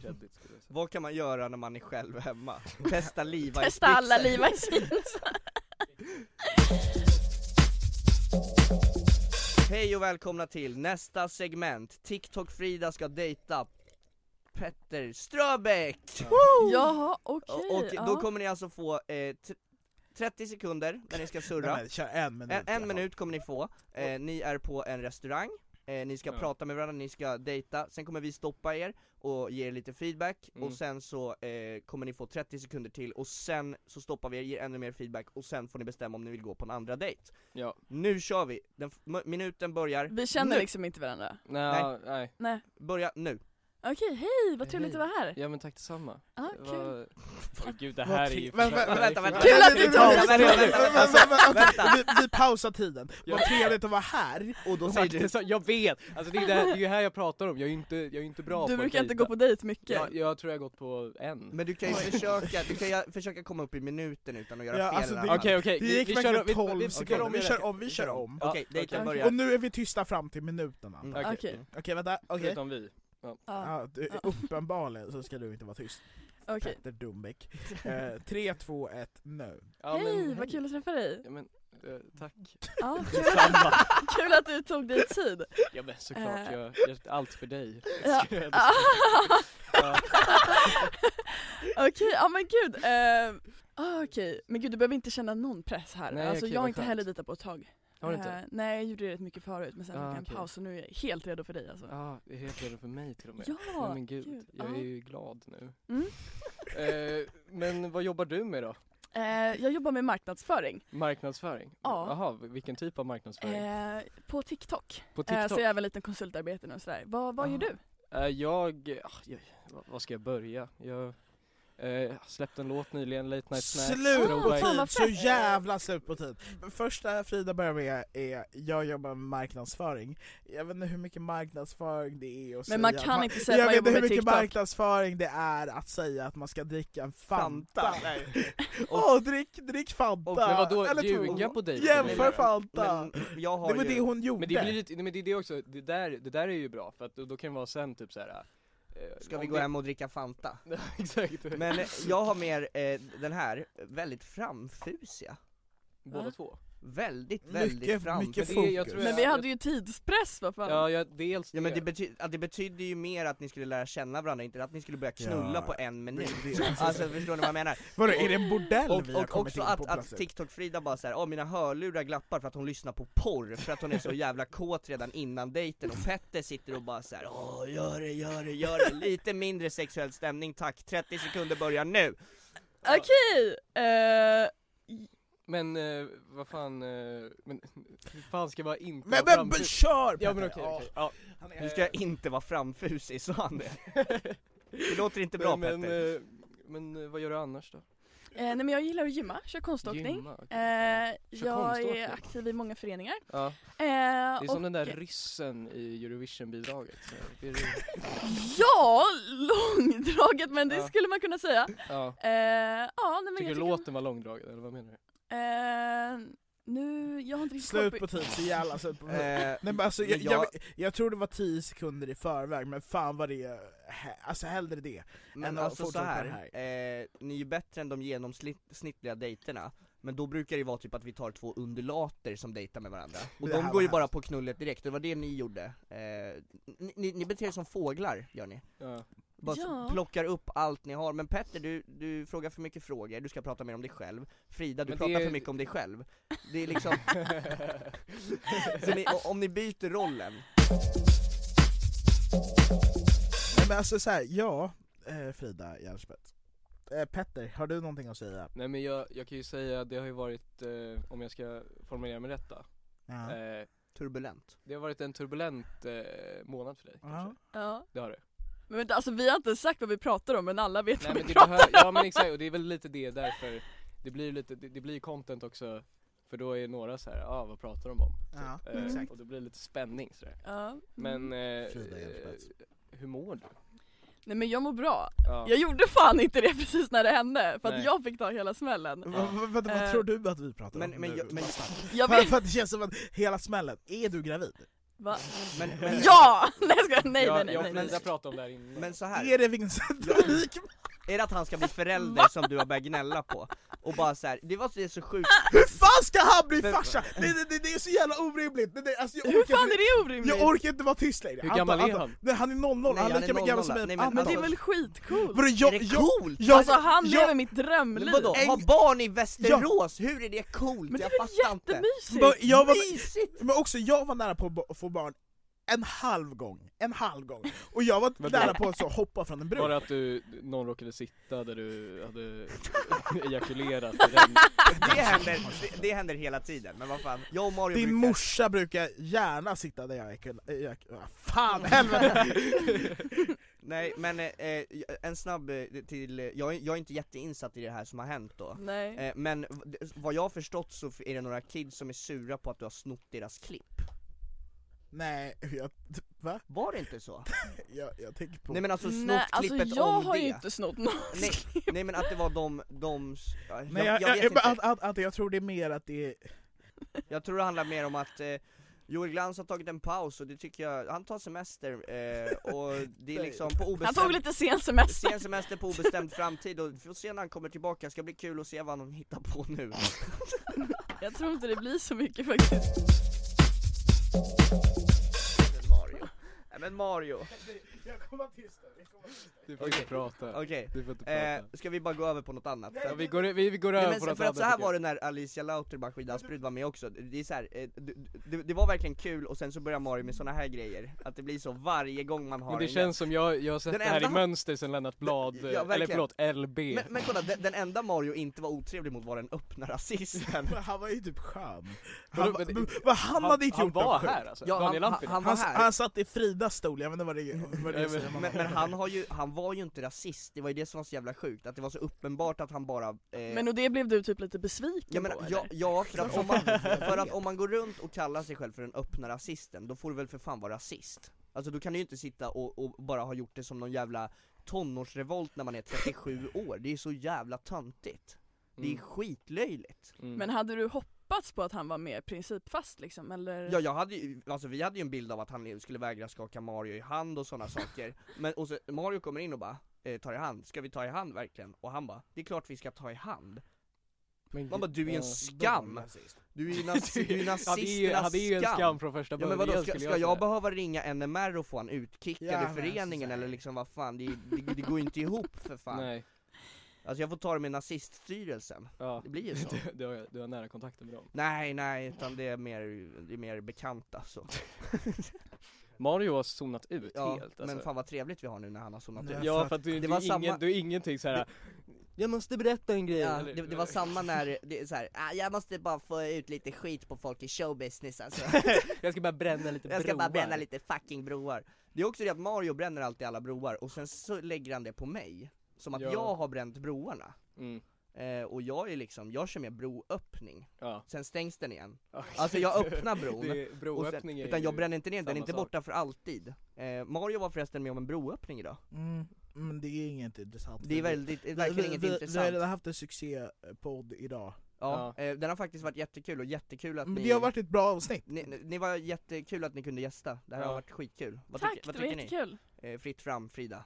Speaker 5: kredit skulle jag säga.
Speaker 2: Vad kan man göra när man är själv hemma? Testa Levi's
Speaker 6: Testa alla
Speaker 2: byxor.
Speaker 6: Levi's jeans.
Speaker 2: Hej och välkomna till nästa segment, TikTok-Frida ska dejta Petter Ströbeck!
Speaker 6: Jaha okej.
Speaker 2: Och och
Speaker 6: ja.
Speaker 2: då kommer ni alltså få eh, t- 30 sekunder när ni ska surra,
Speaker 1: Nej, men, kör en minut.
Speaker 2: en,
Speaker 1: i alla fall.
Speaker 2: en minut kommer ni få, eh, ni är på en restaurang, eh, ni ska
Speaker 5: Ja.
Speaker 2: prata med varandra, ni ska dejta, sen kommer vi stoppa er och ge er lite feedback,
Speaker 5: Mm.
Speaker 2: och sen så eh, kommer ni få 30 sekunder till, och sen så stoppar vi er, ger ännu mer feedback, och sen får ni bestämma om ni vill gå på en andra dejt.
Speaker 5: Ja,
Speaker 2: Nu kör vi! Den f- m- minuten börjar
Speaker 6: Vi känner
Speaker 2: nu.
Speaker 6: liksom inte varandra.
Speaker 5: nej, nej.
Speaker 6: Nej.
Speaker 2: Börja nu!
Speaker 6: Okej, hej vad trevligt
Speaker 5: Hej.
Speaker 6: att vara här.
Speaker 5: Ja men tack detsamma.
Speaker 6: Ja,
Speaker 5: Det
Speaker 6: kul.
Speaker 5: var- Åh, gud det
Speaker 1: Vad
Speaker 5: här är
Speaker 1: tri-
Speaker 5: ju...
Speaker 1: Vänta,
Speaker 5: det här är
Speaker 2: vänta,
Speaker 5: ju-
Speaker 2: vänta.
Speaker 6: Kul att du
Speaker 1: Vi
Speaker 6: tog den!
Speaker 1: pausar- vänta,
Speaker 2: Vänta, vänta,
Speaker 1: vänta, vänta, Alltså, okej,
Speaker 2: vänta.
Speaker 1: vi- Vi pausar tiden. Vad trevligt att vara här.
Speaker 2: Och då
Speaker 5: Jag
Speaker 2: säger
Speaker 5: vet,
Speaker 2: du
Speaker 5: det är så- Jag vet! Alltså det är ju det här, det är ju här jag pratar om, jag är ju inte, jag är ju inte bra på
Speaker 6: Du
Speaker 5: att
Speaker 6: brukar inte
Speaker 5: dejta.
Speaker 6: gå på dejt mycket.
Speaker 5: jag, jag tror jag har gått på en.
Speaker 2: Men du kan ju försöka, du kan ju försöka komma upp i minuten utan att göra
Speaker 1: Ja,
Speaker 2: fel
Speaker 1: alltså,
Speaker 2: eller
Speaker 1: det-
Speaker 2: annat.
Speaker 5: Okej okej,
Speaker 1: Det gick verkligen 12
Speaker 5: om
Speaker 1: sekunder. Vi
Speaker 5: det.
Speaker 1: kör om, vi kör om.
Speaker 5: Ja,
Speaker 2: Okej, dejten
Speaker 5: okej.
Speaker 2: börjar.
Speaker 1: Och nu är vi tysta fram till minuterna.
Speaker 2: Mm.
Speaker 5: Okej.
Speaker 6: Okej.
Speaker 1: Okej, vänta. Okej.
Speaker 5: Förutom vi.
Speaker 6: Ja.
Speaker 1: Ja, du, uppenbarligen så ska du inte vara tyst.
Speaker 6: Okej.
Speaker 1: Petter Dumbeck. Eh, 3, 2, 1, nu.
Speaker 5: Ja,
Speaker 6: hej,
Speaker 5: men,
Speaker 6: vad kul att träffa dig!
Speaker 5: Ja, men, eh, tack.
Speaker 6: Ja, kul,
Speaker 5: Detsamma.
Speaker 6: kul att du tog dig tid!
Speaker 5: Ja men såklart,
Speaker 6: Eh.
Speaker 5: jag, jag allt för dig.
Speaker 6: Ja.
Speaker 5: Ska jag-
Speaker 6: Ah.
Speaker 5: Ja.
Speaker 6: Okej, ja men gud! Eh, ah, Okej, men gud du behöver inte känna någon press här.
Speaker 5: Nej,
Speaker 6: alltså,
Speaker 5: okej,
Speaker 6: jag har
Speaker 5: vad
Speaker 6: inte
Speaker 5: skönt.
Speaker 6: heller dejtat på ett tag.
Speaker 5: Har du inte?
Speaker 6: Eh, nej, jag gjorde det rätt mycket förut men sen
Speaker 5: Ah,
Speaker 6: tog jag en
Speaker 5: okej.
Speaker 6: paus och nu är jag helt redo för dig alltså.
Speaker 5: Ja, ah, det är helt redo för mig till och med.
Speaker 6: Ja,
Speaker 5: Nej, men gud,
Speaker 6: gud,
Speaker 5: jag
Speaker 6: ja.
Speaker 5: är ju glad nu.
Speaker 6: Mm.
Speaker 5: Eh, men vad jobbar du med då?
Speaker 6: Eh, jag jobbar med marknadsföring
Speaker 5: Marknadsföring?
Speaker 6: Ja.
Speaker 5: Jaha, vilken typ av marknadsföring?
Speaker 6: eh, på TikTok.
Speaker 5: på
Speaker 6: Eh,
Speaker 5: TikTok?
Speaker 6: så jag är även lite konsultarbeten och sådär. Vad, vad gör
Speaker 5: Ah.
Speaker 6: du?
Speaker 5: Eh, jag, ah, jag, vad- vad ska jag börja? Jag, Eh, släppte en låt nyligen, Late Night Snacks.
Speaker 1: Slut på
Speaker 5: throwback.
Speaker 1: tid! Så jävla slut på tid! Men Första Frida börjar med är, jag jobbar med marknadsföring. Jag vet inte hur mycket marknadsföring det är att
Speaker 6: Men man
Speaker 1: säga att
Speaker 6: kan inte säga att
Speaker 1: Jag
Speaker 6: man
Speaker 1: vet inte
Speaker 6: jobbar
Speaker 1: hur
Speaker 6: med
Speaker 1: mycket
Speaker 6: TikTok.
Speaker 1: marknadsföring det är att säga att man ska dricka en Fanta.
Speaker 2: Fanta.
Speaker 1: Nej. Åh, drick, drick Fanta!
Speaker 5: Och men vadå,
Speaker 1: Eller två.
Speaker 5: ljuga på dig?
Speaker 1: Jämför Fanta!
Speaker 5: Men jag har
Speaker 1: Det var
Speaker 5: ju-
Speaker 1: det hon gjorde.
Speaker 5: Men det, blir lite, nej, men det är det också, det där, det där är ju bra för att då, då kan det vara sen typ såhär
Speaker 2: Ska vi gå hem och dricka Fanta?
Speaker 5: Exakt
Speaker 2: Men eh, jag har mer eh, den här, eh, väldigt framfusiga
Speaker 5: Båda två?
Speaker 2: Väldigt,
Speaker 5: Mycket-
Speaker 2: väldigt fram
Speaker 5: mycket Men det är- jag fokus. tror
Speaker 6: Men
Speaker 5: jag-
Speaker 6: vi hade ju tidspress vad fan.
Speaker 5: Ja, jag, dels
Speaker 2: Ja men
Speaker 5: det.
Speaker 2: det, bety ja, det betydde ju mer att ni skulle lära känna varandra, inte att ni skulle börja knulla
Speaker 1: Ja,
Speaker 2: på en minut
Speaker 1: det- det-
Speaker 2: Alltså förstår ni vad jag menar?
Speaker 1: Vadå, är det en bordell
Speaker 2: Och,
Speaker 1: vi har
Speaker 2: och
Speaker 1: kommit
Speaker 2: också
Speaker 1: in
Speaker 2: att,
Speaker 1: på
Speaker 2: att
Speaker 1: plötsligt?
Speaker 2: TikTok-Frida bara såhär, åh mina hörlurar glappar för att hon lyssnar på porr för att hon är så jävla kåt redan innan dejten och Petter sitter och bara såhär, åh gör det, gör det, gör det, lite mindre sexuell stämning tack, 30 sekunder börjar nu!
Speaker 6: Okej! eh,
Speaker 5: Men eh, vad fan, eh, men hur fan ska jag inte
Speaker 2: Men-
Speaker 5: vara
Speaker 2: men- men
Speaker 5: framfus-
Speaker 2: kör,
Speaker 5: Ja men
Speaker 2: Petter!
Speaker 5: okej, okej, ja.
Speaker 2: Nu ska jag inte vara framfusig, sa han det? Det låter inte bra
Speaker 5: men,
Speaker 2: Petter
Speaker 5: eh, men eh, vad gör du annars då?
Speaker 6: eh, nej men jag gillar att gymma, kör konståkning.
Speaker 5: Gymma, okej.
Speaker 6: Eh,
Speaker 5: Kör
Speaker 6: jag
Speaker 5: konståkning.
Speaker 6: är aktiv i många föreningar.
Speaker 5: Ja.
Speaker 6: Eh,
Speaker 5: det är som
Speaker 6: och-
Speaker 5: den där ryssen i Eurovision-bidraget så det är-
Speaker 6: Ja, långdraget men det
Speaker 5: Ja.
Speaker 6: skulle man kunna säga.
Speaker 5: Ja.
Speaker 6: Eh, ja, nej, men
Speaker 5: Tycker
Speaker 6: jag
Speaker 5: du
Speaker 6: tycker...
Speaker 5: låten var långdragen eller vad menar du?
Speaker 6: Eh, nu, jag har inte riktigt koll
Speaker 1: Slut
Speaker 6: på-
Speaker 1: på tid, så jävla slut på tid.
Speaker 2: Eh,
Speaker 1: Nej, men alltså, jag,
Speaker 2: men
Speaker 1: jag...
Speaker 2: jag-
Speaker 1: Jag, tror det var 10 sekunder i förväg, men fan vad det är, alltså hellre det
Speaker 2: Men
Speaker 1: än att
Speaker 2: alltså så
Speaker 1: fortsätta
Speaker 2: här,
Speaker 1: med det
Speaker 2: Eh, ni är ju bättre än de genomsnittliga dejterna Men då brukar det ju vara typ att vi tar två undulater som dejtar med varandra Och
Speaker 1: Det här
Speaker 2: de
Speaker 1: var
Speaker 2: går ju bara på knullet direkt, det var det ni gjorde eh, ni, ni, ni beter er som fåglar, gör ni
Speaker 5: Ja.
Speaker 2: Bara
Speaker 6: Ja.
Speaker 2: plockar upp allt ni har, men Petter du, du frågar för mycket frågor, du ska prata mer om dig själv Frida, du
Speaker 5: Men det
Speaker 2: pratar
Speaker 5: är-
Speaker 2: för mycket om dig själv Det är liksom... så ni, om ni byter rollen
Speaker 1: Nej, men alltså så här, ja, eh, Frida Järnspets. Eh, Petter, har du någonting att säga?
Speaker 5: Nej men jag, jag kan ju säga, det har ju varit, eh, om jag ska formulera mig rätt då,
Speaker 1: Ja.
Speaker 5: eh,
Speaker 2: Turbulent
Speaker 5: det har varit en turbulent eh, månad för dig kanske?
Speaker 6: Ja.
Speaker 5: Det har det.
Speaker 6: Men vänta, alltså vi har inte sagt vad vi pratar om men alla vet
Speaker 5: Nej
Speaker 6: vad
Speaker 5: men
Speaker 6: vi
Speaker 5: det
Speaker 6: pratar
Speaker 5: behöver,
Speaker 6: om.
Speaker 5: ja men exakt och det är väl lite det därför det blir ju lite, det, det blir ju content också för då är några så här, ja ah, vad pratar de om?
Speaker 1: Ja,
Speaker 5: Eh,
Speaker 1: exakt.
Speaker 5: Och då blir det lite spänning sådär.
Speaker 6: Mm. Ja. Mm.
Speaker 5: Men, eh,
Speaker 1: Frida Järnspets.
Speaker 5: eh, hur mår du?
Speaker 6: Nej men jag mår bra.
Speaker 5: Ja.
Speaker 6: Jag gjorde fan inte det precis när det hände för att
Speaker 5: Nej.
Speaker 6: jag fick ta hela smällen.
Speaker 1: Va- va- vänta, vad
Speaker 6: Eh,
Speaker 1: tror du att vi pratar
Speaker 2: Men,
Speaker 1: om
Speaker 2: men,
Speaker 1: nu?
Speaker 2: jag, men,
Speaker 6: Jag
Speaker 1: För,
Speaker 6: vet,
Speaker 1: för att det känns som att hela smällen, är du gravid?
Speaker 6: va?
Speaker 2: men, men,
Speaker 6: Ja! Nej jag skojar. nej
Speaker 5: jag,
Speaker 6: nej nej.
Speaker 5: jag
Speaker 6: nej,
Speaker 5: och
Speaker 6: nej.
Speaker 5: Frida pratade om det här innan.
Speaker 2: men så här
Speaker 1: Är det Vincent
Speaker 2: Ja.
Speaker 1: Wikman?
Speaker 2: Är det att han ska bli förälder som du har börjat gnälla på? Och bara så här, det var så, det är så sjukt,
Speaker 1: Hur fan ska han bli
Speaker 2: Men-
Speaker 1: farsa? Det, det, det, det är så jävla orimligt! Det, det, alltså, jag
Speaker 6: Hur
Speaker 1: orkar
Speaker 6: fan
Speaker 1: inte-
Speaker 6: är det orimligt?
Speaker 1: Jag orkar inte vara tyst längre.
Speaker 5: Hur gammal
Speaker 1: Anton,
Speaker 5: är
Speaker 1: Anton.
Speaker 5: han?
Speaker 1: Nej, han är 00,
Speaker 2: Nej,
Speaker 1: han är
Speaker 2: han
Speaker 1: lika
Speaker 2: är
Speaker 1: gammal som
Speaker 2: 00.
Speaker 1: mig.
Speaker 2: Nej, men
Speaker 6: Men det är
Speaker 2: Alltså-
Speaker 6: väl skitcoolt?
Speaker 1: Vadå,
Speaker 2: är
Speaker 1: jag,
Speaker 2: det
Speaker 1: jag,
Speaker 2: coolt?
Speaker 1: jag,
Speaker 6: Alltså han
Speaker 1: jag,
Speaker 6: lever mitt drömliv.
Speaker 2: men vadå?
Speaker 1: En-
Speaker 2: Ha barn i Västerås, hur är det coolt?
Speaker 6: Ah, Men det
Speaker 2: jag
Speaker 6: är väl
Speaker 2: fattar inte!
Speaker 1: Men
Speaker 6: jättemysigt?
Speaker 1: jag var,
Speaker 2: Mysigt!
Speaker 1: men också, jag var nära på att bo- få barn en halv gång, en halv gång. Och jag var
Speaker 5: Men-
Speaker 1: nära på att så hoppa från en
Speaker 5: Var det
Speaker 1: bro.
Speaker 5: att du, någon råkade sitta där du hade ejakulerat i den?
Speaker 2: Det händer, det, det händer hela tiden, men vad fan, jag och Mario
Speaker 1: Din
Speaker 2: brukar...
Speaker 1: morsa brukar gärna sitta där jag är kul- äh, jag- ah, Fan helvete!
Speaker 2: Nej men eh, eh, en snabb eh, till, eh, jag, är- jag är inte jätteinsatt i det här som har hänt då
Speaker 6: Nej.
Speaker 2: eh, Men v- det- vad jag har förstått så är det några kids som är sura på att du har snott deras klipp
Speaker 1: Nej, jag, va?
Speaker 2: Var det inte så?
Speaker 1: Jag, jag tänker på...
Speaker 2: Nej men alltså snott
Speaker 6: Nej, alltså
Speaker 2: klippet
Speaker 6: jag
Speaker 2: om
Speaker 6: har
Speaker 2: det
Speaker 6: ju inte snott någon.
Speaker 2: Nej, nej men att det var de, de, s- ja,
Speaker 1: Nej,
Speaker 2: jag, jag vet
Speaker 1: men
Speaker 2: inte
Speaker 1: att, att, att jag tror det är mer att det är...
Speaker 2: Jag tror det handlar mer om att eh, Joel Glans har tagit en paus och det tycker jag, han tar semester eh, och det är liksom på obestämd
Speaker 6: Han tog lite sen semester.
Speaker 2: Sen semester på obestämd framtid och vi får se när han kommer tillbaka, ska bli kul att se vad han hittar på nu
Speaker 6: Jag tror inte det blir så mycket faktiskt.
Speaker 2: Men Mario, nej men Mario,
Speaker 5: Du får inte prata.
Speaker 2: okej
Speaker 5: Du får inte prata.
Speaker 2: eh, Ska vi bara gå över på något annat?
Speaker 5: ja, vi, går, vi, vi går över
Speaker 2: Nej,
Speaker 5: på
Speaker 2: men
Speaker 5: något
Speaker 2: för att
Speaker 5: annat
Speaker 2: så här
Speaker 5: tycker jag.
Speaker 2: var det när Alicia Lauterbach, Skidas brud var med också, det är så här, eh, det, det, det var verkligen kul och sen så börjar Mario med såna här grejer, att det blir så varje gång man har
Speaker 5: Men det
Speaker 2: en gäst.
Speaker 5: känns som jag, jag har sett
Speaker 2: Den
Speaker 5: det här i
Speaker 2: enda-
Speaker 5: mönster sen Lennart Blad,
Speaker 2: Ja,
Speaker 5: eller
Speaker 2: verkligen.
Speaker 5: förlåt LB
Speaker 2: Men, men kolla, den, den enda Mario inte var otrevlig mot var den öppna rasisten
Speaker 1: Men han var ju typ skön.
Speaker 5: Vadå,
Speaker 1: Han,
Speaker 5: men det-
Speaker 1: men, men han hade inte
Speaker 5: han
Speaker 1: gjort
Speaker 5: var
Speaker 1: något sjukt.
Speaker 5: här alltså,
Speaker 2: Ja,
Speaker 5: Daniel
Speaker 2: han, han,
Speaker 5: Lampinen.
Speaker 2: han var
Speaker 1: Han,
Speaker 2: här
Speaker 1: han satt i Fridas
Speaker 9: stol, jag vet inte vad det, vad det
Speaker 2: Nej,
Speaker 9: säger
Speaker 2: men,
Speaker 9: man
Speaker 2: men,
Speaker 9: om.
Speaker 2: men han, har ju, han var ju inte rasist, det var ju det som var så jävla sjukt, att det var så uppenbart att han bara eh,
Speaker 10: Men och det blev du typ lite besviken
Speaker 2: Ja, men,
Speaker 10: på
Speaker 2: ja,
Speaker 10: eller?
Speaker 2: ja för, att om man, för att om man går runt och kallar sig själv för den öppna rasisten, då får du väl för fan vara rasist? Alltså då kan du ju inte sitta och, och bara ha gjort det som någon jävla tonårsrevolt när man är 37 år, det är så jävla töntigt Det är
Speaker 10: Mm.
Speaker 2: skitlöjligt
Speaker 10: Men hade du hoppats på att han var mer principfast liksom eller?
Speaker 2: Ja jag hade ju, alltså vi hade ju en bild av att han skulle vägra skaka Mario i hand och sådana saker Men och så, Mario kommer in och bara eh, tar i hand, ska vi ta i hand verkligen? Och han bara, det är klart vi ska ta i hand Man bara, du är
Speaker 4: ja,
Speaker 2: en
Speaker 4: då var
Speaker 2: skam! Du är ju nazi- du är
Speaker 4: Ja, det är ju-
Speaker 2: nazisternas
Speaker 4: ja, det är ju en skam från första
Speaker 2: Ja men vadå,
Speaker 4: början,
Speaker 2: ska,
Speaker 4: skulle
Speaker 2: ska
Speaker 4: jag
Speaker 2: jag
Speaker 4: säga.
Speaker 2: behöva ringa NMR och få han utkickad
Speaker 4: Ja,
Speaker 2: ur
Speaker 4: men alltså,
Speaker 2: föreningen eller liksom vad fan, det, det, det går ju inte ihop för fan
Speaker 4: Nej.
Speaker 2: Alltså jag får ta det med naziststyrelsen, det blir ju så
Speaker 4: Du, du, har, du har nära kontakter med dem.
Speaker 2: Nej nej, utan det är mer, det är mer bekanta så
Speaker 4: Mario har zonat ut
Speaker 2: Ja,
Speaker 4: helt
Speaker 2: men
Speaker 4: alltså.
Speaker 2: fan vad trevligt vi har nu när han har zonat ut
Speaker 4: Ja för att du,
Speaker 2: Det
Speaker 4: du,
Speaker 2: var
Speaker 4: är ingen,
Speaker 2: samma-
Speaker 4: du är ingenting såhär,
Speaker 2: Jag måste berätta en grej! Ja,
Speaker 4: eller-
Speaker 2: det, det var samma när, det är så här, "Ah, jag måste bara få ut lite skit på folk i showbusiness alltså
Speaker 4: jag ska bara bränna lite
Speaker 2: Jag ska bara
Speaker 4: broar.
Speaker 2: bränna lite fucking broar Det är också det att Mario bränner alltid alla broar och sen så lägger han det på mig Som att
Speaker 4: Ja.
Speaker 2: jag har bränt broarna
Speaker 4: Mm.
Speaker 2: eh, Och jag är liksom, jag kör med broöppning
Speaker 4: Ja.
Speaker 2: Sen stängs den igen
Speaker 4: Ja.
Speaker 2: Alltså jag öppnar bron,
Speaker 4: Det är-
Speaker 2: och
Speaker 4: broöppning
Speaker 2: sen,
Speaker 4: är
Speaker 2: utan jag
Speaker 4: ju
Speaker 2: bränner inte ner den, den är
Speaker 4: samma
Speaker 2: inte
Speaker 4: sak.
Speaker 2: borta för alltid eh, Mario var förresten med om en broöppning idag
Speaker 1: Mm, men det är inget intressant.
Speaker 2: Det är väldigt- det är verkligen
Speaker 1: vi,
Speaker 2: inget
Speaker 1: vi,
Speaker 2: intressant.
Speaker 1: Vi har haft en succépodd idag.
Speaker 2: Ja, eh, den har faktiskt varit jättekul och jättekul att
Speaker 1: Men
Speaker 2: ni
Speaker 1: det har varit ett bra avsnitt.
Speaker 2: ni, ni- ni var jättekul att ni kunde gästa, det här
Speaker 4: Ja.
Speaker 2: har varit skitkul vad
Speaker 10: Tack,
Speaker 2: tycker- vad
Speaker 10: det var
Speaker 2: tycker ni?
Speaker 10: jättekul.
Speaker 2: eh, Fritt fram Frida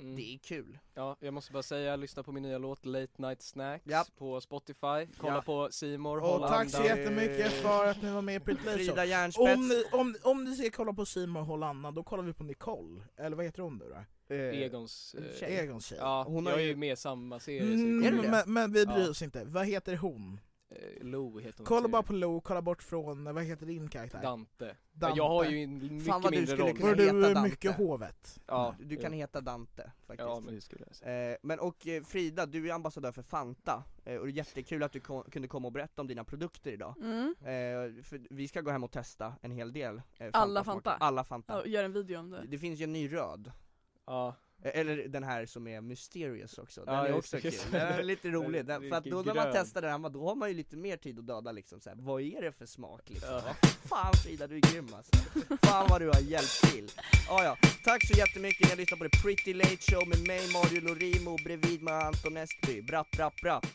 Speaker 4: Mm.
Speaker 2: Det är kul
Speaker 4: Ja, jag måste bara säga, lyssna på min nya låt Late Night Snacks på Spotify, kolla
Speaker 1: Ja.
Speaker 4: på Simor
Speaker 1: Och tack så jättemycket för att ni var med i Pretty Late
Speaker 4: Frida
Speaker 1: Show.
Speaker 4: Järnspets.
Speaker 1: Om ni, om, om ni ska kolla på Simon Hollanda, då kollar vi på Nicole. Eller vad heter hon nu då?
Speaker 4: Egons eh,
Speaker 1: tjej. Egons tjej.
Speaker 4: Ja,
Speaker 1: Hon har
Speaker 4: jag är
Speaker 1: ju-
Speaker 4: ju med i samma serie så
Speaker 1: Mm,
Speaker 4: det kommer-
Speaker 1: men, men vi bryr
Speaker 4: Ja.
Speaker 1: oss inte. Vad heter hon?
Speaker 4: Eh, Lo heter hon
Speaker 1: Kolla
Speaker 4: till-
Speaker 1: bara på Lo, kolla bort från, vad heter din karaktär?
Speaker 4: Dante.
Speaker 1: Dante.
Speaker 4: Jag har ju en mycket
Speaker 2: Fan vad du
Speaker 4: mindre
Speaker 2: skulle
Speaker 4: roll.
Speaker 2: kunna
Speaker 1: Var du
Speaker 2: heta Dante.
Speaker 1: mycket hovet?
Speaker 4: Ja,
Speaker 2: du kan heta Dante faktiskt
Speaker 4: Ja, men det skulle jag säga.
Speaker 2: Eh, men och eh, Frida, du är ambassadör för Fanta, eh, och det är jättekul att du ko- kunde komma och berätta om dina produkter idag
Speaker 10: Mm.
Speaker 2: eh, för Vi ska gå hem och testa en hel del eh,
Speaker 10: Alla
Speaker 2: Fantasmaker.
Speaker 10: Fanta?
Speaker 2: Alla Fanta
Speaker 10: Ja, gör en video om det.
Speaker 2: Det finns ju en ny röd E-,
Speaker 4: Ja
Speaker 2: Eller den här som är mysterious också, den
Speaker 4: Ja,
Speaker 2: är
Speaker 4: just
Speaker 2: också
Speaker 4: det,
Speaker 2: kul,
Speaker 4: just det.
Speaker 2: den är lite rolig,
Speaker 4: Den-
Speaker 2: den, för att då när
Speaker 4: vilken
Speaker 2: man
Speaker 4: grön.
Speaker 2: testar den, här, då har man ju lite mer tid att döda liksom så här. vad är det för smak liksom? Vad Fan Frida, du är grym alltså. Fan vad du har hjälpt till! Ah, ja. Tack så jättemycket, ni har lyssnat på The Pretty Late Show med mig Mario Lorimo, bredvid mig Anton Estby, brapp brapp brapp!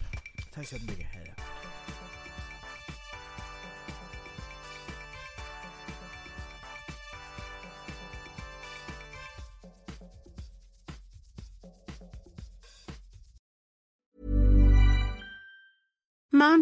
Speaker 1: Tack så jättemycket, hej.
Speaker 11: Mom